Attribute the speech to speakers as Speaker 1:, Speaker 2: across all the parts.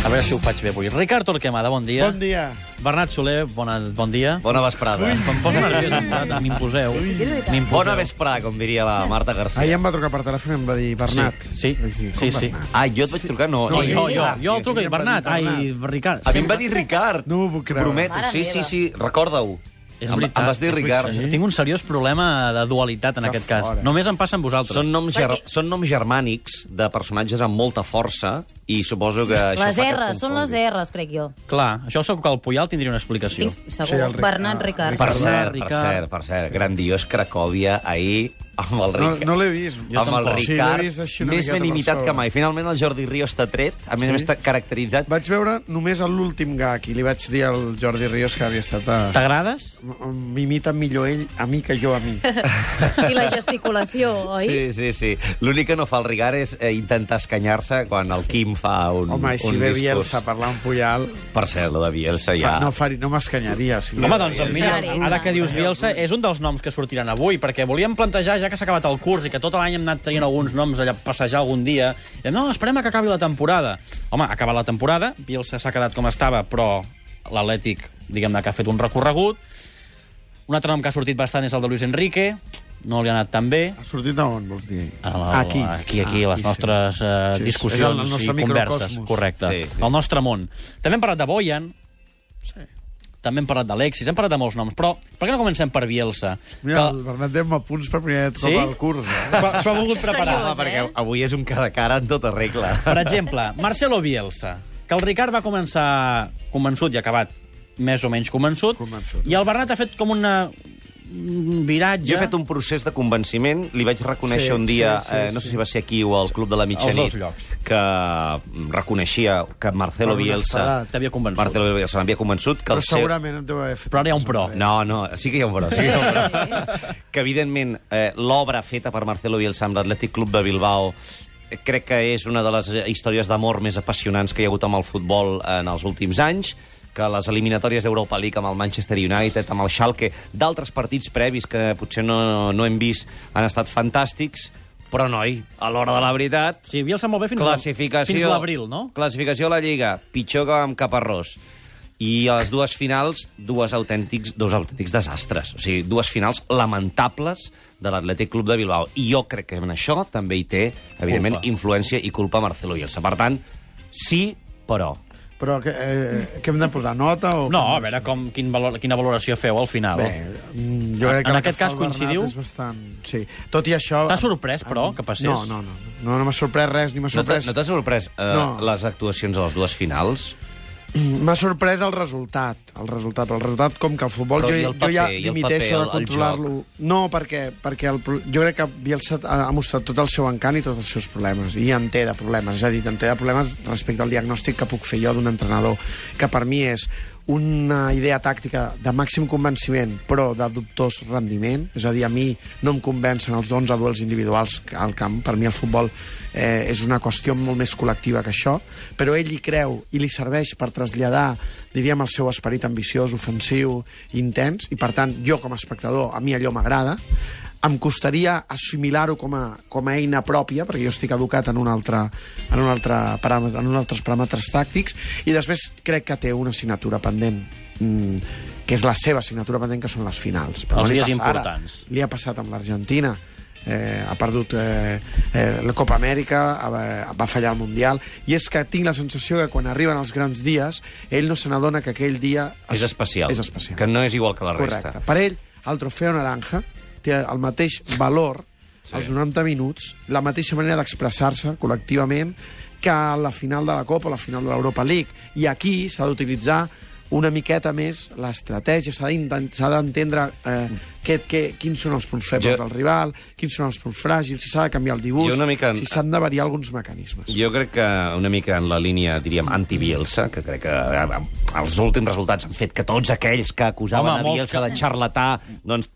Speaker 1: A veure si ho faig bé avui. Ricard Torquemada, bon dia.
Speaker 2: Bon dia.
Speaker 1: Bernat Soler, bona, bon dia.
Speaker 3: Bona vesprada.
Speaker 1: Em poso nerviós, em- em- m'imposeu.
Speaker 4: Sí, sí, és veritat.
Speaker 1: M'imposeu.
Speaker 3: Bona vesprada, com diria la Marta Garcia.
Speaker 2: Ahir em va trucar per telèfon i em va dir, Bernat.
Speaker 1: Sí,
Speaker 2: Vaig
Speaker 1: sí,
Speaker 2: dir,
Speaker 1: sí.
Speaker 2: "Com
Speaker 1: sí.
Speaker 2: Bernat?"
Speaker 3: Ah, jo et vaig trucar? No.
Speaker 2: No,
Speaker 3: ell.
Speaker 1: Jo, jo,
Speaker 3: Ah.
Speaker 1: jo el truco,
Speaker 2: Sí,
Speaker 1: Bernat.
Speaker 2: Bernat.
Speaker 1: Ai, Ricard.
Speaker 3: A mi em va dir Ricard.
Speaker 2: No m'ho puc creure.
Speaker 3: Prometo,
Speaker 4: Mare
Speaker 3: sí, sí,
Speaker 4: meva.
Speaker 3: sí, recorda-ho.
Speaker 1: És
Speaker 3: Em-
Speaker 1: veritat.
Speaker 3: Em vas dir
Speaker 1: és
Speaker 3: Ricard.
Speaker 1: veritat. Tinc un seriós problema de dualitat en aquest cas.
Speaker 2: fora.
Speaker 1: Només em passa amb vosaltres.
Speaker 3: Són noms, ger
Speaker 4: Perquè-
Speaker 3: són noms germànics de personatges amb molta força i suposo que... això
Speaker 4: Les
Speaker 3: fa que et
Speaker 4: R's, són les
Speaker 3: confongui.
Speaker 4: R's, crec jo.
Speaker 1: Clar, això segur que el Puyal tindria una explicació.
Speaker 4: Tinc,
Speaker 2: Sí,
Speaker 4: segur.
Speaker 2: el ah, Ricard.
Speaker 4: Bernat Ricard.
Speaker 3: Per
Speaker 1: Ricard.
Speaker 3: cert, per
Speaker 1: Ricard.
Speaker 3: cert, per cert, grandiós Cracòvia ahir amb
Speaker 2: No,
Speaker 3: el Ricard.
Speaker 2: no l'he vist.
Speaker 1: Jo
Speaker 3: amb el
Speaker 1: tampoc.
Speaker 2: Sí, l'he
Speaker 3: Ricard,
Speaker 2: vist així una
Speaker 3: més
Speaker 2: miqueta
Speaker 3: ben
Speaker 2: per
Speaker 3: imitat
Speaker 2: sobre.
Speaker 3: que mai. Finalment el Jordi Rio està tret, a més a més
Speaker 2: Sí.
Speaker 3: està caracteritzat...
Speaker 2: Vaig veure només el l'últim gag i li vaig dir al Jordi Ríos que havia estat a...
Speaker 1: T'agrades?
Speaker 2: M'imita millor ell a mi que jo a mi.
Speaker 4: I la gesticulació, oi?
Speaker 3: Sí, sí, sí. L'únic que no fa el Rigard és eh, intentar escanyar-se quan el Quim fa un,
Speaker 2: Home, i si
Speaker 3: un
Speaker 2: ve
Speaker 3: discurs.
Speaker 2: Bielsa a parlar amb Puyal,
Speaker 3: Per cert, lo de Bielsa ja...
Speaker 2: fa, no, Fari, no m'escanyaria. Si
Speaker 1: Home, doncs, el millor,
Speaker 4: Ricard.
Speaker 1: ara que dius Bielsa, és un dels noms que sortiran avui, perquè volíem plantejar, ja que s'ha acabat el curs i que tot l'any hem anat traient alguns noms allà a passejar algun dia, dèiem, no, esperem a que acabi la temporada. Home, ha acabat la temporada, Bielsa s'ha quedat com estava, però l'Atlètic, diguem-ne, que ha fet un recorregut. Un altre nom que ha sortit bastant és el de Luis Enrique, no li ha anat tan bé.
Speaker 2: Ha sortit a on, vols dir?
Speaker 1: El, aquí. Ah, Aquí, aquí, ah, les
Speaker 2: sí.
Speaker 1: nostres eh,
Speaker 2: Sí, sí.
Speaker 1: discussions
Speaker 2: És el nostre
Speaker 1: i converses.
Speaker 2: microcosmos.
Speaker 1: Correcte.
Speaker 3: Sí, sí.
Speaker 1: El nostre món. També hem parlat de Boyan. Sí. També hem parlat d'Alexis, hem parlat de molts noms. Però per què no comencem per Bielsa?
Speaker 2: Mira, el
Speaker 1: que...
Speaker 2: Bernat Dem a punts per primer cop
Speaker 1: Sí?
Speaker 2: al curs. Eh?
Speaker 1: S'ho s'ho ha volgut preparar.
Speaker 4: Seriós,
Speaker 3: Home, perquè
Speaker 4: eh?
Speaker 3: avui és un cara a cara en tota regla.
Speaker 1: Per exemple, Marcelo Bielsa, que el Ricard va començar convençut i ha acabat més o menys convençut,
Speaker 2: Convençut.
Speaker 1: i el Bernat ha fet com una, un viratge...
Speaker 3: Jo he fet un procés de convenciment, li vaig reconèixer
Speaker 2: Sí,
Speaker 3: un dia,
Speaker 2: sí, sí,
Speaker 3: eh, no sé
Speaker 2: sí.
Speaker 3: si va ser aquí o al Club de la
Speaker 1: Als dos
Speaker 3: Mitjanit,
Speaker 1: llocs.
Speaker 3: que mm, reconeixia que Marcelo
Speaker 2: Per
Speaker 3: Bielsa...
Speaker 2: honestedat.
Speaker 1: T'havia convençut.
Speaker 3: Marcelo Bielsa l'havia convençut que
Speaker 2: Però
Speaker 3: el seu...
Speaker 2: segurament em deu haver fet...
Speaker 1: Però ara hi ha un però.
Speaker 3: No, no, sí que hi ha un però. Sí que, hi ha un però. que evidentment, eh, l'obra feta per Marcelo Bielsa amb l'Atlètic Club de Bilbao eh, crec que és una de les eh, històries d'amor més apassionants que hi ha hagut amb el futbol eh, en els últims anys que les eliminatòries d'Europa League amb el Manchester United, amb el Schalke, d'altres partits previs que potser no, no hem vist han estat fantàstics, però noi, a l'hora de la veritat,
Speaker 1: Sí, Bielsa molt bé fins, a-
Speaker 3: classificació,
Speaker 1: fins a l'abril, no?
Speaker 3: Classificació a la Lliga, pitjor que amb Caparrós. I a les dues finals, dues autèntics, dos autèntics desastres. O sigui, dues finals lamentables de l'Atlètic Club de Bilbao. I jo crec que en això també hi té, evidentment,
Speaker 1: Culpa.
Speaker 3: influència i culpa Marcelo Bielsa. Per tant, sí, però...
Speaker 2: Però que, eh, què hem de posar? Nota o...
Speaker 1: No, a veure com, quin valor, quina valoració feu al final.
Speaker 2: Bé, mm, jo crec que
Speaker 1: En
Speaker 2: la
Speaker 1: aquest
Speaker 2: que fa
Speaker 1: cas
Speaker 2: el Bernat
Speaker 1: coincidiu?
Speaker 2: És bastant... Sí. Tot i això...
Speaker 1: T'ha sorprès, però, que passés?
Speaker 2: No, no, no. No, no m'ha sorprès res, ni m'ha
Speaker 3: No t'ha
Speaker 2: sorprès...
Speaker 3: no t'ha sorprès eh,
Speaker 2: No.
Speaker 3: les actuacions a les dues finals?
Speaker 2: Mm, M'ha sorprès el resultat, el resultat, però el resultat com que el futbol
Speaker 3: Però
Speaker 2: jo,
Speaker 3: i el
Speaker 2: jo ja
Speaker 3: paper, i el
Speaker 2: dimiteixo
Speaker 3: paper,
Speaker 2: de
Speaker 3: el- el
Speaker 2: controlar-lo. No, perquè, perquè el, pro- jo crec que Bielsa ha ha mostrat tot el seu encant i tots els seus problemes, i en té de problemes, és a dir, en té de problemes respecte al diagnòstic que puc fer jo d'un entrenador, que per mi és una idea tàctica de màxim convenciment, però de dubtós rendiment, és a dir, a mi no em convencen els 11 duels individuals al camp, per mi el futbol eh, és una qüestió molt més col·lectiva que això, però ell hi creu i li serveix per traslladar, diríem, el seu esperit ambiciós, ofensiu, intens, i per tant, jo com a espectador, a mi allò m'agrada, em costaria assimilar-ho com, a, com a eina pròpia, perquè jo estic educat en un altre, en un altre paràmetre, en uns altres paràmetres tàctics, i després crec que té una assignatura pendent, mm, que és la seva assignatura pendent, que són les finals.
Speaker 1: Els
Speaker 2: li
Speaker 1: dies
Speaker 2: passa ara.
Speaker 1: importants.
Speaker 2: Li ha passat amb l'Argentina, eh, ha perdut eh, eh, la Copa Amèrica, eh, va fallar el Mundial, i és que tinc la sensació que quan arriben els grans dies, ell no se n'adona que aquell dia...
Speaker 3: És especial.
Speaker 2: És especial.
Speaker 3: Que no és igual que la
Speaker 2: Correcte.
Speaker 3: resta.
Speaker 2: Per ell, el trofeu naranja té el mateix valor sí. als 90 minuts, la mateixa manera d'expressar-se col·lectivament que a la final de la Copa, a la final de l'Europa League. I aquí s'ha d'utilitzar una miqueta més l'estratègia, s'ha d'inten- s'ha d'entendre eh, què, què, quins són els punts febles
Speaker 3: Jo-
Speaker 2: jo... del rival, quins són els punts fràgils, si s'ha de canviar el dibuix,
Speaker 3: Jo una mica en-
Speaker 2: si s'han de variar alguns mecanismes.
Speaker 3: Jo crec que una mica en la línia, diríem, anti-Bielsa, que crec que eh, els últims resultats han fet que tots aquells que
Speaker 1: Home,
Speaker 3: acusaven Home, a
Speaker 1: molts
Speaker 3: Bielsa
Speaker 1: que-
Speaker 3: que... de xarlatà doncs,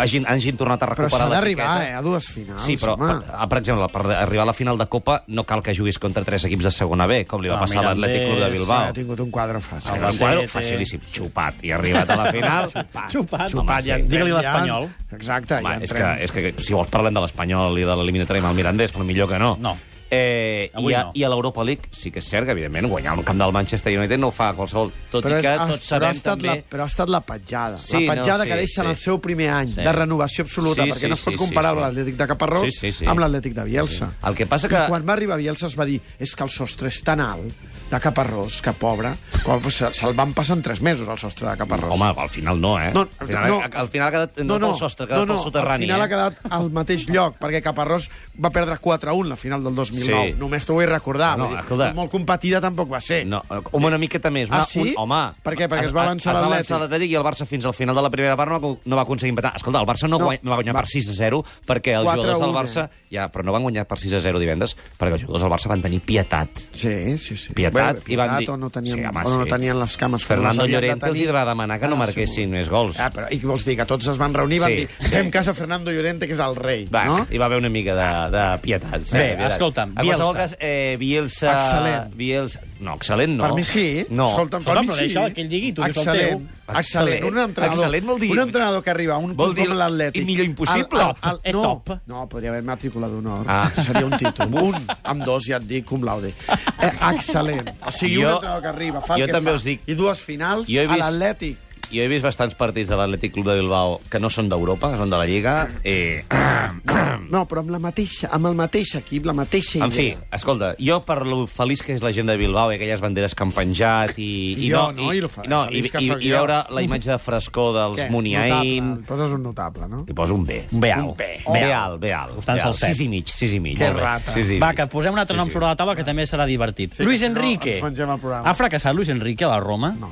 Speaker 3: hagin, hagin tornat a
Speaker 2: Però s'ha
Speaker 3: recuperar
Speaker 2: d'arribar
Speaker 3: l'etiqueta.
Speaker 2: eh, a dues finals,
Speaker 3: Sí, però,
Speaker 2: home.
Speaker 3: per, ah, per exemple, per arribar a la final de Copa no cal que juguis contra tres equips de segona B, com li va
Speaker 1: Ah,
Speaker 3: passar a l'Atlètic Club de
Speaker 1: Mirandés,
Speaker 2: Ah, ha
Speaker 3: Bilbao.
Speaker 2: tingut un quadre fàcil.
Speaker 3: El quadro, facilíssim, xupat, i ha arribat a la final, xupat.
Speaker 1: Xupat,
Speaker 3: Home,
Speaker 1: xupat,
Speaker 3: sí.
Speaker 1: ja, digue-li
Speaker 2: Ja-
Speaker 1: l'espanyol.
Speaker 2: Exacte,
Speaker 3: Home,
Speaker 2: Ah, ja
Speaker 3: és, que,
Speaker 2: entrem.
Speaker 3: és que si vols parlem de l'Espanyol i de l'eliminatòria amb el Mirandés, però millor que no.
Speaker 1: No.
Speaker 3: Eh,
Speaker 1: Avui
Speaker 3: I a,
Speaker 1: no.
Speaker 3: i a l'Europa League sí que és cert que, evidentment, guanyar el camp del Manchester United no ho fa qualsevol. Tot i que
Speaker 2: has-
Speaker 3: tots sabem
Speaker 2: ha estat
Speaker 3: també...
Speaker 2: La, però ha estat la petjada.
Speaker 3: Sí,
Speaker 2: la petjada
Speaker 3: no, sí,
Speaker 2: que deixa en el
Speaker 3: sí.
Speaker 2: seu primer any
Speaker 3: Sí.
Speaker 2: de renovació absoluta,
Speaker 3: Sí,
Speaker 2: perquè
Speaker 3: sí,
Speaker 2: no es pot
Speaker 3: sí,
Speaker 2: comparar
Speaker 3: sí, sí.
Speaker 2: l'Atlètic de Caparrós
Speaker 3: Sí, sí, sí.
Speaker 2: amb l'Atlètic de Bielsa.
Speaker 3: El que passa
Speaker 2: I
Speaker 3: que-
Speaker 2: quan va arribar Bielsa es va dir és que el sostre és tan alt de Caparrós, que pobre, quan se- se'l van passar en tres mesos, el sostre de Caparrós.
Speaker 3: Home, al final no, eh?
Speaker 2: No,
Speaker 3: al final,
Speaker 2: no.
Speaker 3: al final ha quedat no, pel sostre, ha quedat
Speaker 2: no, no,
Speaker 3: pel soterrani.
Speaker 2: Al final
Speaker 3: eh?
Speaker 2: ha quedat al mateix lloc, perquè Caparrós va perdre 4-1 la final del 2009.
Speaker 3: Sí.
Speaker 2: Només t'ho vull recordar.
Speaker 3: No,
Speaker 2: vull dir,
Speaker 3: escolta.
Speaker 2: molt competida tampoc va ser.
Speaker 3: No, home, una miqueta més. Una,
Speaker 2: Ah, sí?
Speaker 3: Un, home,
Speaker 2: Per què? Perquè es va avançar
Speaker 3: es va
Speaker 2: l'Atlètic.
Speaker 3: avançar l'Atlètic i el Barça fins al final de la primera part no, va- no va aconseguir empatar. Escolta, el Barça no,
Speaker 2: No.
Speaker 3: no. Guany, va guanyar
Speaker 2: Va.
Speaker 3: per 6 a 0 perquè els
Speaker 2: 4 a
Speaker 3: jugadors
Speaker 2: 1,
Speaker 3: del Barça... Ja, però no van guanyar per 6 a 0 divendres perquè els jugadors del Barça van tenir pietat.
Speaker 2: Sí, sí, sí.
Speaker 3: Pietat,
Speaker 2: Bé,
Speaker 3: i van
Speaker 2: pietat
Speaker 3: dir-
Speaker 2: o no tenien,
Speaker 3: Sí, home,
Speaker 2: o no
Speaker 3: sí.
Speaker 2: tenien les cames.
Speaker 3: Fernando
Speaker 2: Havien de
Speaker 3: Llorente els
Speaker 2: tenir-
Speaker 3: hi va demanar que no
Speaker 2: Ah,
Speaker 3: marquessin
Speaker 2: segur.
Speaker 3: més gols.
Speaker 2: Ah, però, I què vols dir? Que tots es van reunir i van
Speaker 3: Sí.
Speaker 2: dir fem cas a Fernando Llorente, que és el rei,
Speaker 3: Va, no?
Speaker 2: no?
Speaker 3: hi va haver una mica de, de pietat. Sí,
Speaker 1: Bé,
Speaker 3: de pietat.
Speaker 1: escolta'm,
Speaker 3: En qualsevol
Speaker 1: Bielsa.
Speaker 3: cas, eh, Bielsa...
Speaker 2: Excel·lent.
Speaker 3: Bielsa... No, excel·lent no.
Speaker 2: Per mi sí.
Speaker 3: No.
Speaker 2: Escolta'm, per
Speaker 1: Escolta,
Speaker 2: mi
Speaker 1: però
Speaker 2: sí.
Speaker 1: deixa que ell digui, tu dius el
Speaker 2: excel·lent,
Speaker 3: teu.
Speaker 2: Excel·lent. Un entrenador,
Speaker 3: Excel·lent vol dir-
Speaker 2: un entrenador que arriba a un
Speaker 3: Vol
Speaker 2: club
Speaker 3: dir
Speaker 2: com l'Atlètic...
Speaker 3: i millor impossible.
Speaker 2: Al, al,
Speaker 1: Eh,
Speaker 2: al, no,
Speaker 1: top.
Speaker 2: no, podria haver matrícula d'honor.
Speaker 3: Ah.
Speaker 2: Ah. Seria un títol. un, amb dos ja et dic, cum laude. Eh, excel·lent. O sigui,
Speaker 3: Jo-
Speaker 2: un entrenador que arriba, fa
Speaker 3: jo
Speaker 2: el que
Speaker 3: també
Speaker 2: fa.
Speaker 3: us dic-
Speaker 2: I dues finals
Speaker 3: Jo he
Speaker 2: a
Speaker 3: vist-
Speaker 2: l'Atlètic.
Speaker 3: Jo he vist bastants partits de l'Atlètic Club de Bilbao que no són d'Europa, són de la Lliga. Eh,
Speaker 2: Mm. No, però amb, la mateixa, amb el mateix equip, la mateixa idea.
Speaker 3: en fi, escolta, jo per lo feliç que és la gent de Bilbao i aquelles banderes que han penjat i...
Speaker 2: I jo, no? I lo fa-
Speaker 3: no, i,
Speaker 2: feliç que
Speaker 3: i,
Speaker 2: sóc
Speaker 3: i
Speaker 2: jo.
Speaker 3: veure la imatge de frescor dels Muniain...
Speaker 2: Notable. Poses un notable, no?
Speaker 3: Li poso un B.
Speaker 1: Un B alt.
Speaker 3: Un B.
Speaker 1: Un B
Speaker 3: B
Speaker 1: alt.
Speaker 3: alt, B alt.
Speaker 1: Costant-se
Speaker 3: B alt.
Speaker 1: el set.
Speaker 3: Sis i mig, sis i mig.
Speaker 2: Que
Speaker 3: Molt bé.
Speaker 2: rata.
Speaker 3: Sis i
Speaker 1: Va,
Speaker 3: mig.
Speaker 1: que posem un altre nom sobre la taula que també serà divertit.
Speaker 2: Sí,
Speaker 1: Luis
Speaker 2: que si no,
Speaker 1: Enrique.
Speaker 2: ens mengem el programa.
Speaker 1: Ha fracassat Luis Enrique a la Roma?
Speaker 2: No.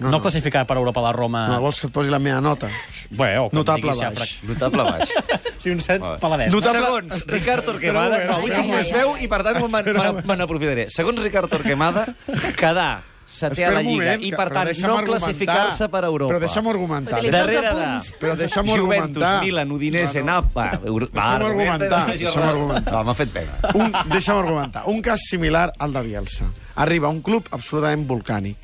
Speaker 1: No, no classificar per Europa a la Roma...
Speaker 2: No, vols que et posi la meva nota?
Speaker 1: Bé, o com
Speaker 2: Notable
Speaker 1: diguis, si ha
Speaker 2: baix.
Speaker 3: Notable baix.
Speaker 1: frac- Si un set
Speaker 3: Molt bé.
Speaker 1: paladet.
Speaker 2: Notable-
Speaker 3: Segons Ricard Torquemada...
Speaker 2: Espera,
Speaker 3: No, avui tinc més veu i, per tant, me, me, me n'aprofitaré. Segons Ricard Torquemada, quedar setè a la
Speaker 2: un
Speaker 3: Lliga
Speaker 2: moment,
Speaker 3: i,
Speaker 2: que-
Speaker 3: per
Speaker 2: però
Speaker 3: tant,
Speaker 2: deixa'm
Speaker 3: no
Speaker 2: argumentar.
Speaker 3: classificar-se per Europa.
Speaker 2: Però deixa'm argumentar.
Speaker 4: Perquè li
Speaker 2: Deixa'm-
Speaker 4: fas-
Speaker 3: Darrere
Speaker 4: apunts.
Speaker 3: de...
Speaker 2: Però deixa'm
Speaker 3: Juventus,
Speaker 2: argumentar.
Speaker 3: Milan, Udinese,
Speaker 2: No, no.
Speaker 3: Napa...
Speaker 2: Deixa'm argumentar, deixa'm argumentar.
Speaker 3: Va, m'ha fet pena.
Speaker 2: Un, deixa'm argumentar. Un cas similar al de Bielsa. Arriba a un club absolutament volcànic.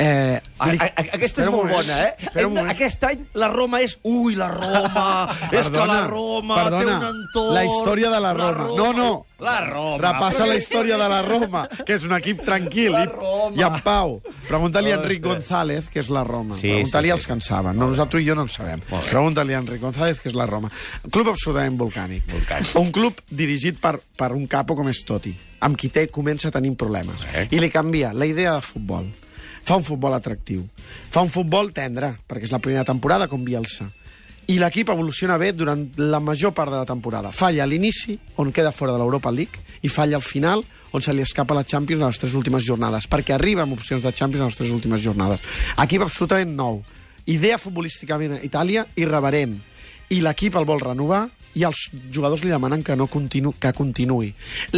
Speaker 2: Eh,
Speaker 3: A, a, a, aquesta és
Speaker 2: Espera un
Speaker 3: molt
Speaker 2: moment.
Speaker 3: bona, eh?
Speaker 2: Espera un
Speaker 3: Hem de-
Speaker 2: moment.
Speaker 3: Aquest any la Roma és... Ui, la Roma! és que la Roma té un entorn...
Speaker 2: La història de la Roma. No, no.
Speaker 3: La Roma.
Speaker 2: Repassa
Speaker 3: però-
Speaker 2: la història de la Roma, que és un equip tranquil
Speaker 3: La
Speaker 2: i,
Speaker 3: Roma.
Speaker 2: i en pau. Pregunta-li a Enric
Speaker 3: Ostres.
Speaker 2: González, que és la Roma.
Speaker 3: Sí,
Speaker 2: Pregunta-li
Speaker 3: sí,
Speaker 2: als
Speaker 3: sí.
Speaker 2: que en saben. No, nosaltres i jo no en sabem. Pregunta-li a Enric González, que és la Roma. Club absolutament volcànic.
Speaker 3: Volcànic.
Speaker 2: Un club dirigit per, per un capo com és Toti, amb qui té comença a tenir problemes.
Speaker 3: Eh?
Speaker 2: I li canvia la idea de futbol. Fa un futbol atractiu. Fa un futbol tendre, perquè és la primera temporada com Bielsa. I l'equip evoluciona bé durant la major part de la temporada. Falla a l'inici, on queda fora de l'Europa League, i falla al final, on se li escapa la Champions a les tres últimes jornades, perquè arriba amb opcions de Champions a les tres últimes jornades. Equip absolutament nou. Idea futbolísticament a Itàlia, irreverent. I l'equip el vol renovar, i els jugadors li demanen que no continu, que continuï.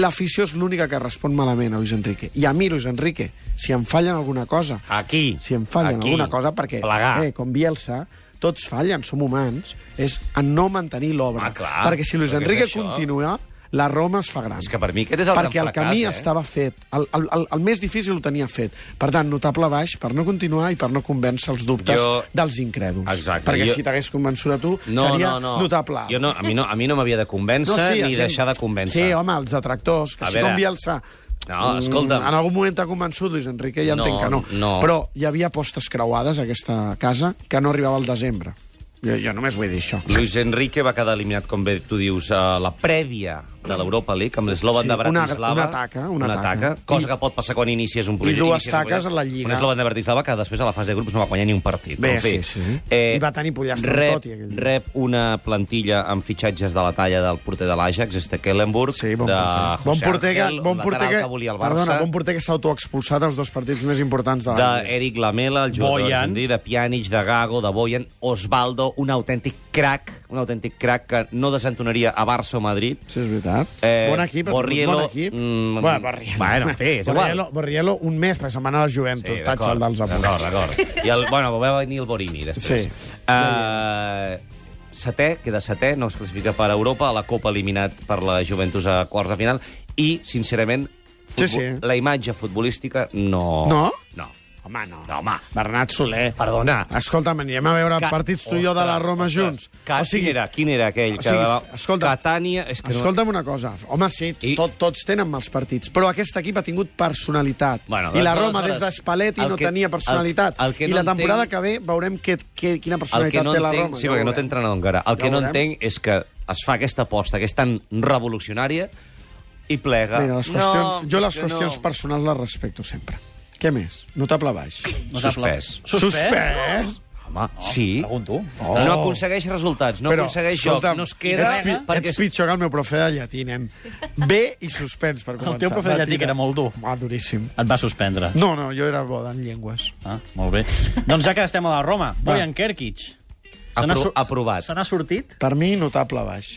Speaker 2: L'afició és l'única que respon malament a Luis Enrique. I a mi, Luis Enrique, si em fallen alguna cosa,
Speaker 3: Aquí.
Speaker 2: si em fallen
Speaker 3: Aquí.
Speaker 2: alguna cosa, perquè,
Speaker 3: Plegar.
Speaker 2: eh, com Bielsa, tots fallen, som humans, és en no mantenir l'obra.
Speaker 3: Ah, clar,
Speaker 2: perquè si Luis
Speaker 3: però què
Speaker 2: Enrique
Speaker 3: és això?
Speaker 2: continua, la Roma es fa gran.
Speaker 3: És que per mi aquest és el
Speaker 2: perquè
Speaker 3: gran
Speaker 2: el camí
Speaker 3: fracàs, eh?
Speaker 2: estava fet. El, el, el, el més difícil ho tenia fet. Per tant, notable baix per no continuar i per no convèncer els dubtes
Speaker 3: Jo-
Speaker 2: dels incrèduls.
Speaker 3: Exacte,
Speaker 2: Perquè
Speaker 3: jo-
Speaker 2: si t'hagués convençut a tu,
Speaker 3: No,
Speaker 2: seria
Speaker 3: no, no.
Speaker 2: notable.
Speaker 3: Jo no, a mi no, a mi no m'havia de convèncer
Speaker 2: la
Speaker 3: ni
Speaker 2: gent-
Speaker 3: deixar de convèncer.
Speaker 2: Sí, home, els detractors, que
Speaker 3: A
Speaker 2: així
Speaker 3: veure.
Speaker 2: com Bielsa...
Speaker 3: No,
Speaker 2: mm,
Speaker 3: escolta'm.
Speaker 2: En algun moment t'ha convençut, Luis Enrique, ja
Speaker 3: No,
Speaker 2: entenc que no.
Speaker 3: no.
Speaker 2: Però hi havia postes creuades a aquesta casa que no arribava al desembre. Jo, jo només vull dir això.
Speaker 3: Luis Enrique va quedar eliminat, com bé tu dius, a la prèvia de l'Europa League, amb l'eslòvan
Speaker 2: Sí,
Speaker 3: de
Speaker 2: una-
Speaker 3: Bratislava.
Speaker 2: una taca, una taca.
Speaker 3: Cosa
Speaker 2: I-
Speaker 3: que pot passar quan inicies un projecte.
Speaker 2: dues
Speaker 3: inicies un
Speaker 2: taques
Speaker 3: projecte.
Speaker 2: a la Lliga.
Speaker 3: Un eslòvan de Bratislava que després a la fase de grups no va guanyar ni un partit.
Speaker 2: Bé,
Speaker 3: en fi, Eh,
Speaker 2: sí, sí. I va tenir pollastre amb
Speaker 3: rep,
Speaker 2: Totti, aquell dia.
Speaker 3: rep una plantilla amb fitxatges de la talla del porter de l'Ajax, este Kellenburg,
Speaker 2: Sí, bon
Speaker 3: de
Speaker 2: porter.
Speaker 3: José
Speaker 2: bon porter que,
Speaker 3: Ángel,
Speaker 2: bon porter
Speaker 3: lateral
Speaker 2: que,
Speaker 3: que volia el Barça, E-
Speaker 2: perdona, bon porter que s'ha autoexpulsat als dos partits més importants de la Lliga.
Speaker 3: d'Eric Lamela, el jugador
Speaker 1: Boyan.
Speaker 3: argentí, de Pjanic, de Gago, de Boyan, Osvaldo, un autèntic crack, un autèntic crack que no desentonaria a Barça o Madrid.
Speaker 2: Sí, és veritat.
Speaker 3: Eh,
Speaker 2: bon equip, ha tingut
Speaker 3: Borriello,
Speaker 2: bon equip.
Speaker 3: mm,
Speaker 2: bueno, Borriello.
Speaker 3: bueno, en fi, és igual.
Speaker 2: Borriello, Borriello, un mes per setmana de Juventus, sí, tatxa el dels apunts.
Speaker 3: D'acord, d'acord. I el, bueno, va venir el Borini, després.
Speaker 2: Sí.
Speaker 3: Eh, setè, queda setè, no es classifica per Europa, a la Copa eliminat per la Juventus a quarts de final, i, sincerament,
Speaker 2: Sí,
Speaker 3: futbol-
Speaker 2: sí.
Speaker 3: la imatge futbolística no...
Speaker 2: No?
Speaker 3: No.
Speaker 2: Home, no.
Speaker 3: No, home.
Speaker 2: Bernat Soler.
Speaker 3: Perdona.
Speaker 2: Escolta'm, anirem a veure
Speaker 3: Ca-
Speaker 2: partits tu i jo de la Roma
Speaker 3: ostres,
Speaker 2: junts.
Speaker 3: Ca... O sigui, quin, era, quin era aquell?
Speaker 2: O sigui,
Speaker 3: que...
Speaker 2: escolta,
Speaker 3: Catània... És que
Speaker 2: Escolta'm una cosa, home, sí,
Speaker 3: I-
Speaker 2: tot, tots tenen mals partits, però aquest equip ha tingut personalitat.
Speaker 3: Bueno,
Speaker 2: I la
Speaker 3: doncs,
Speaker 2: Roma des
Speaker 3: aleshores,
Speaker 2: d'Espalletti
Speaker 3: el
Speaker 2: no
Speaker 3: que-
Speaker 2: tenia personalitat.
Speaker 3: el- el que
Speaker 2: I
Speaker 3: no
Speaker 2: la temporada
Speaker 3: entenc-
Speaker 2: que ve veurem que, que, quina
Speaker 3: El que
Speaker 2: personalitat
Speaker 3: no
Speaker 2: té la
Speaker 3: entenc,
Speaker 2: Roma.
Speaker 3: sí,
Speaker 2: ja
Speaker 3: perquè
Speaker 2: ho
Speaker 3: no té
Speaker 2: veurem.
Speaker 3: entrenador encara. El
Speaker 2: Ja
Speaker 3: que
Speaker 2: ho
Speaker 3: no
Speaker 2: veurem.
Speaker 3: entenc és que es fa aquesta aposta, que és tan revolucionària, i plega.
Speaker 2: Mira, les qüestions,
Speaker 3: No,
Speaker 2: jo
Speaker 3: és
Speaker 2: les
Speaker 3: que
Speaker 2: personals
Speaker 3: no.
Speaker 2: personals les respecto sempre. Què més? Notable baix.
Speaker 3: Suspès.
Speaker 1: Suspès?
Speaker 2: Suspès?
Speaker 3: Home, sí.
Speaker 1: Pregunto.
Speaker 3: Oh. No aconsegueix resultats, no
Speaker 2: Però,
Speaker 3: aconsegueix joc,
Speaker 2: escolta'm,
Speaker 3: no es queda...
Speaker 2: Ets, pi
Speaker 3: perquè
Speaker 2: ets pitjor que el meu profe de llatí, nen. B i suspens, per començar.
Speaker 1: teu profe de
Speaker 2: Va,
Speaker 1: llatí,
Speaker 2: tira.
Speaker 1: que era molt dur.
Speaker 2: Home, duríssim.
Speaker 1: Et va suspendre.
Speaker 2: No, no, jo era bo en llengües.
Speaker 1: Ah, molt bé. doncs ja que estem a la Roma,
Speaker 2: Va.
Speaker 1: Bojan Kerkic. Se n'ha
Speaker 3: Apro
Speaker 1: sur-
Speaker 3: aprovat.
Speaker 1: Se n'ha sortit?
Speaker 2: Per mi, notable baix.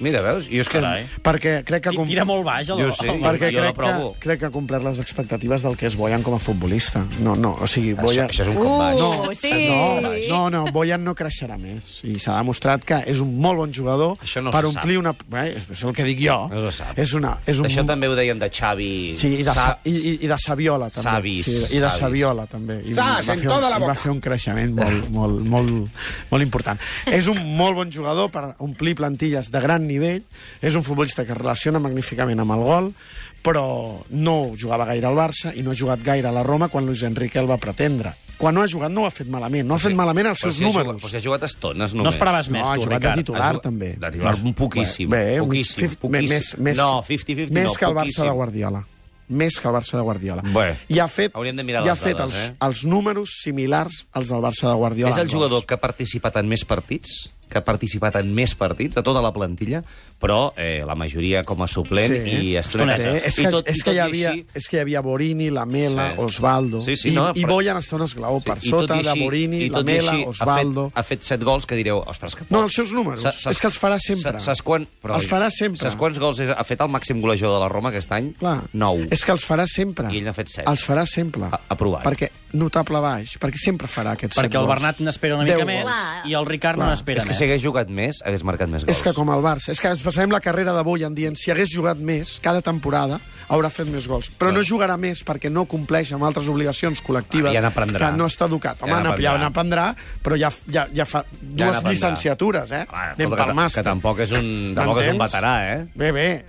Speaker 3: Mira, veus? Jo és que...
Speaker 1: Carai.
Speaker 2: Perquè crec que...
Speaker 1: Ti-
Speaker 2: com-
Speaker 1: Tira molt baix. El,
Speaker 3: Jo sé,
Speaker 1: el-
Speaker 3: per-
Speaker 2: Perquè
Speaker 3: Jo
Speaker 2: crec que,
Speaker 3: l'aprovo.
Speaker 2: crec que ha complert les expectatives del que és Boyan com a futbolista. No, no, o sigui,
Speaker 3: Això,
Speaker 2: Boyan...
Speaker 3: això és un cop baix.
Speaker 4: Uh,
Speaker 2: No,
Speaker 4: sí.
Speaker 2: No, no, no, Boyan no creixerà més. I s'ha demostrat que és un molt bon jugador
Speaker 3: Això no
Speaker 2: per
Speaker 3: se sap.
Speaker 2: omplir una... Eh, és el que dic jo.
Speaker 3: No se sap.
Speaker 2: És una... És un...
Speaker 3: Això també ho deien de Xavi...
Speaker 2: Sí, i de, Sa...
Speaker 3: Sa-
Speaker 2: i, i, i de Saviola, també.
Speaker 3: Savis,
Speaker 2: sí, I de
Speaker 3: savis.
Speaker 2: Saviola, també. I
Speaker 5: Sas,
Speaker 2: va
Speaker 5: en
Speaker 2: fer un,
Speaker 5: toda la
Speaker 2: i va
Speaker 5: boca.
Speaker 2: fer un creixement molt, molt, molt, molt important. És un molt bon jugador per omplir plantilles de gran nivell, és un futbolista que es relaciona magníficament amb el gol, però no jugava gaire al Barça i no ha jugat gaire a la Roma quan Luis Enrique el va pretendre. Quan no ha jugat no ho ha fet malament, no ha fet malament els
Speaker 3: Però
Speaker 2: seus
Speaker 3: si ha jugat-
Speaker 2: números.
Speaker 3: Però si ha jugat estones només.
Speaker 1: No esperaves
Speaker 2: No,
Speaker 1: més,
Speaker 2: ha
Speaker 1: tu,
Speaker 2: jugat de
Speaker 1: Ricard.
Speaker 2: titular,
Speaker 3: Ha jugat-
Speaker 2: també.
Speaker 3: de titular, poquíssim,
Speaker 2: un
Speaker 3: poquíssim,
Speaker 2: fif-
Speaker 3: poquíssim.
Speaker 2: Més, més,
Speaker 3: No, 50-50
Speaker 2: Més
Speaker 3: no,
Speaker 2: que el Barça
Speaker 3: poquíssim.
Speaker 2: de Guardiola. Més que el Barça de Guardiola.
Speaker 3: Bé,
Speaker 2: I ha fet,
Speaker 3: hauríem de mirar
Speaker 2: i ha
Speaker 3: les
Speaker 2: fet
Speaker 3: dades,
Speaker 2: els,
Speaker 3: eh?
Speaker 2: els números similars als del Barça de Guardiola.
Speaker 3: És el
Speaker 2: en
Speaker 3: jugador
Speaker 2: gols.
Speaker 3: que ha participat en més partits, que ha participat en més partits de tota la plantilla, però eh, la majoria com a suplent
Speaker 2: Sí.
Speaker 3: i estonetes.
Speaker 2: Eh, és, que,
Speaker 3: I tot,
Speaker 2: és,
Speaker 3: i
Speaker 2: que
Speaker 3: tot
Speaker 2: hi
Speaker 3: i
Speaker 2: havia,
Speaker 3: així,
Speaker 2: és que hi havia Borini, Lamela,
Speaker 3: Sí.
Speaker 2: Osvaldo...
Speaker 3: Sí, sí,
Speaker 2: I,
Speaker 3: no,
Speaker 2: i
Speaker 3: però-
Speaker 2: Boyan està un esglaó per
Speaker 3: i tot
Speaker 2: sota
Speaker 3: i així-
Speaker 2: de Borini,
Speaker 3: i tot i
Speaker 2: Lamela,
Speaker 3: així
Speaker 2: Osvaldo...
Speaker 3: Ha fet, ha fet set gols que direu, ostres, que poc.
Speaker 2: No, els seus números.
Speaker 3: Sa- saps-
Speaker 2: És que els farà sempre.
Speaker 3: sa- Saps, quan,
Speaker 2: Els farà sempre.
Speaker 3: Saps quants gols és, ha fet el màxim golejador de la Roma aquest any?
Speaker 2: Clar.
Speaker 3: 9.
Speaker 2: És que els farà sempre.
Speaker 3: I ell n'ha fet set.
Speaker 2: Els farà sempre.
Speaker 3: A- aprovat.
Speaker 2: Perquè notable baix, perquè sempre farà aquests set
Speaker 1: perquè el
Speaker 2: gols.
Speaker 1: Bernat n'espera una mica
Speaker 2: Deu
Speaker 1: més
Speaker 4: gols.
Speaker 1: i el Ricard no
Speaker 2: Clar.
Speaker 1: n'espera
Speaker 3: és que
Speaker 1: més.
Speaker 3: si hagués jugat més, hagués marcat més gols.
Speaker 2: És que com el Barça. És que ens passarem la carrera d'avui en dient si hagués jugat més, cada temporada haurà fet més gols. Però no jugarà més perquè no compleix amb altres obligacions col·lectives
Speaker 3: Ah, ja n'aprendrà.
Speaker 2: que no està educat. Home,
Speaker 3: Ja
Speaker 2: ja
Speaker 3: n'aprendrà.
Speaker 2: n'aprendrà, però ja, ja, ja fa dues
Speaker 3: n'aprendrà.
Speaker 2: llicenciatures, eh?
Speaker 3: Home,
Speaker 2: Anem
Speaker 3: escolta,
Speaker 2: pel
Speaker 3: que-
Speaker 2: màster.
Speaker 3: que tampoc és un- tampoc és un
Speaker 2: M'entens?
Speaker 3: veterà, eh?
Speaker 2: Bé, bé.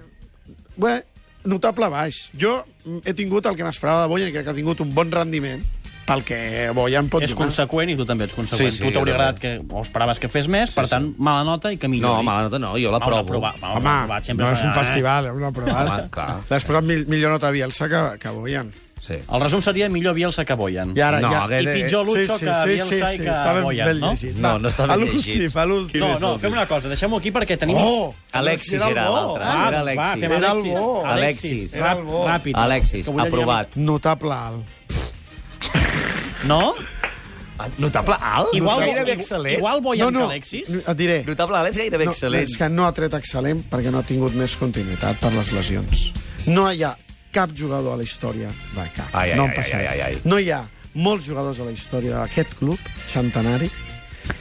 Speaker 2: Bé, notable baix. Jo mm, he tingut el que m'esperava de Boyan i crec que ha tingut un bon rendiment pel que Boyan pot
Speaker 1: és
Speaker 2: donar.
Speaker 1: conseqüent i tu també ets conseqüent.
Speaker 3: Sí, sí,
Speaker 1: tu t'hauria
Speaker 3: jo també.
Speaker 1: agradat que, o esperaves que fes més, per tant, mala nota i que millori.
Speaker 3: No, mala nota no, jo l'aprovo.
Speaker 1: Mal aprovat, mal
Speaker 2: Home,
Speaker 1: aprovat, sempre
Speaker 2: no és un
Speaker 1: s'agrada, eh?
Speaker 2: festival, eh? una prova.
Speaker 3: Home, clar.
Speaker 2: L'has posat mil, millor nota a Bielsa que, que Boyan.
Speaker 3: Sí.
Speaker 1: El resum seria millor Bielsa que Boyan.
Speaker 2: I ara,
Speaker 3: No,
Speaker 2: ja...
Speaker 1: I
Speaker 3: aquest-
Speaker 1: pitjor Lucho que Bielsa i que
Speaker 2: Està ben,
Speaker 1: Boyan,
Speaker 2: ben
Speaker 1: no?
Speaker 2: llegit.
Speaker 3: No, no està ben
Speaker 2: A l'últim,
Speaker 3: llegit.
Speaker 2: A l'últim.
Speaker 1: No, no, fem una cosa, deixem-ho aquí perquè tenim...
Speaker 2: Oh!
Speaker 3: Alexis
Speaker 2: el
Speaker 3: era
Speaker 2: bo.
Speaker 3: l'altre.
Speaker 1: Ah,
Speaker 3: Era
Speaker 1: doncs va,
Speaker 3: Alexis.
Speaker 1: fem
Speaker 2: Era el
Speaker 1: Alexis.
Speaker 2: bo.
Speaker 3: Alexis.
Speaker 1: Rap-
Speaker 2: Era el bo.
Speaker 1: Ràpid.
Speaker 3: Alexis,
Speaker 1: És que vull llegir-
Speaker 3: aprovat.
Speaker 2: Notable alt.
Speaker 1: No?
Speaker 3: Ah, Notable alt?
Speaker 1: Igual,
Speaker 3: gairebé
Speaker 1: igual,
Speaker 3: excel·lent.
Speaker 1: igual Boyan
Speaker 2: no, no,
Speaker 1: que Alexis?
Speaker 2: Et diré.
Speaker 3: Notable alt és gairebé
Speaker 2: No,
Speaker 3: excel·lent.
Speaker 2: és que no ha tret excel·lent perquè no ha tingut més continuïtat per les lesions. No hi ha cap jugador a la història de cap.
Speaker 3: Ai, ai,
Speaker 2: no em
Speaker 3: ai,
Speaker 2: passaré.
Speaker 3: ai, ai, ai.
Speaker 2: No hi ha molts jugadors a la història d'aquest club centenari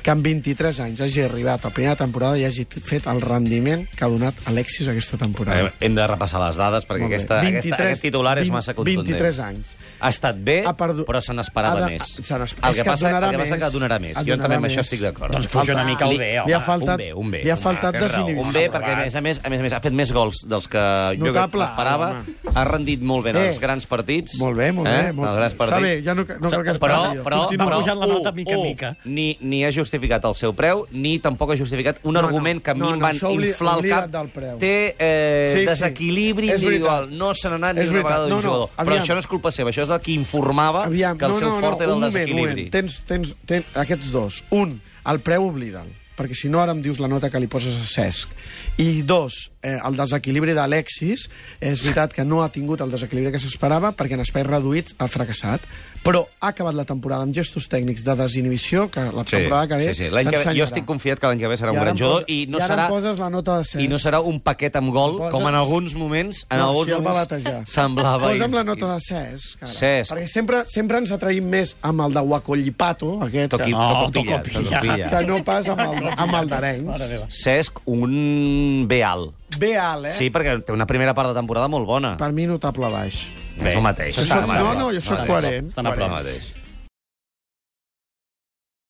Speaker 2: que amb 23 anys hagi arribat a primera temporada i hagi fet el rendiment que ha donat Alexis aquesta temporada.
Speaker 3: Eh, Hem de repassar les dades, perquè
Speaker 2: Molt bé.
Speaker 3: aquesta, 23, aquesta,
Speaker 2: 23,
Speaker 3: aquest titular és
Speaker 2: 20,
Speaker 3: massa contundent.
Speaker 2: 23 anys.
Speaker 3: Ha estat bé,
Speaker 2: Ha perdu-
Speaker 3: però se n'esperava
Speaker 2: ha de-
Speaker 3: més.
Speaker 2: se n'esperava-
Speaker 3: El
Speaker 2: és
Speaker 3: que,
Speaker 2: que
Speaker 3: passa, el
Speaker 2: donarà
Speaker 3: que passa és que
Speaker 2: més.
Speaker 3: donarà més.
Speaker 2: Et
Speaker 3: Jo també amb
Speaker 2: donarà
Speaker 3: això
Speaker 2: més.
Speaker 3: estic d'acord.
Speaker 1: Doncs fuja una mica el bé, home.
Speaker 2: li ha faltat,
Speaker 3: un bé, un bé.
Speaker 2: li ha
Speaker 3: home,
Speaker 2: faltat
Speaker 3: tens raó.
Speaker 2: desinhibició.
Speaker 3: Un bé, perquè a més, a més, a més, a més, ha fet més gols dels que jo crec que
Speaker 2: Notable,
Speaker 3: m'esperava.
Speaker 2: home.
Speaker 3: Ha rendit molt bé en
Speaker 2: Eh,
Speaker 3: els grans partits.
Speaker 2: Molt bé, molt
Speaker 3: eh?
Speaker 2: bé. Molt
Speaker 3: els grans
Speaker 2: bé. Està
Speaker 3: partits.
Speaker 2: bé, ja no, no cal que es
Speaker 3: però,
Speaker 2: parli jo.
Speaker 3: però,
Speaker 2: Continua.
Speaker 3: però,
Speaker 1: pujant la
Speaker 3: u,
Speaker 1: nota mica a
Speaker 3: u,
Speaker 1: mica.
Speaker 3: Ni, ni ha justificat el seu preu, ni tampoc ha justificat un
Speaker 2: No, no,
Speaker 3: argument que a mi
Speaker 2: no,
Speaker 3: em
Speaker 2: no,
Speaker 3: van
Speaker 2: això obli-
Speaker 3: inflar el
Speaker 2: oblida't
Speaker 3: cap.
Speaker 2: del preu.
Speaker 3: Té eh,
Speaker 2: Sí, sí.
Speaker 3: desequilibri
Speaker 2: És veritat.
Speaker 3: individual. No se n'ha anat ni
Speaker 2: És
Speaker 3: una
Speaker 2: veritat.
Speaker 3: vegada d'un
Speaker 2: No, no,
Speaker 3: jugador. Però
Speaker 2: aviam.
Speaker 3: això no és culpa seva, això és del que informava
Speaker 2: Aviam,
Speaker 3: que el
Speaker 2: no,
Speaker 3: seu
Speaker 2: no,
Speaker 3: fort
Speaker 2: no,
Speaker 3: era
Speaker 2: un
Speaker 3: el
Speaker 2: moment,
Speaker 3: desequilibri.
Speaker 2: moment. Tens, tens, tens aquests dos. Un, el preu oblida'l, perquè si no ara em dius la nota que li poses a Cesc. I dos, eh, el desequilibri d'Alexis. És veritat que no ha tingut el desequilibri que s'esperava perquè en espais reduïts ha fracassat, però ha acabat la temporada amb gestos tècnics de desinhibició que la temporada que ve
Speaker 3: sí, sí. L'any que ve, jo
Speaker 2: t'ensenyarà.
Speaker 3: estic confiat que l'any que ve serà
Speaker 2: I
Speaker 3: un
Speaker 2: ara
Speaker 3: gran
Speaker 2: em
Speaker 3: jugador
Speaker 2: poses-
Speaker 3: i no
Speaker 2: i ara em
Speaker 3: serà
Speaker 2: poses la nota de Cesc.
Speaker 3: i no serà un paquet amb gol
Speaker 2: Em poses-
Speaker 3: com en alguns moments en
Speaker 2: No,
Speaker 3: alguns
Speaker 2: si el va
Speaker 3: moments
Speaker 2: batejar.
Speaker 3: semblava
Speaker 2: Posa'm la nota de Cesc. Ara.
Speaker 3: Cesc.
Speaker 2: Perquè sempre, sempre ens atraïm més amb el de Huacollipato, aquest,
Speaker 3: Toqui,
Speaker 1: No, toco
Speaker 3: toco pilla, toco
Speaker 1: pilla.
Speaker 2: que,
Speaker 3: pilla.
Speaker 2: que no pas amb el, amb el d'Arenys.
Speaker 3: Cesc, un bé alt.
Speaker 2: Bé alt, eh?
Speaker 3: Sí, perquè té una primera part de temporada molt bona.
Speaker 2: Per mi notable baix.
Speaker 3: és el mateix.
Speaker 1: Això
Speaker 2: soc-
Speaker 1: està-
Speaker 2: no, no, jo soc
Speaker 1: estan a
Speaker 2: coherent,
Speaker 1: prop, Estan a
Speaker 2: coherent.
Speaker 1: prop.
Speaker 3: Mateix.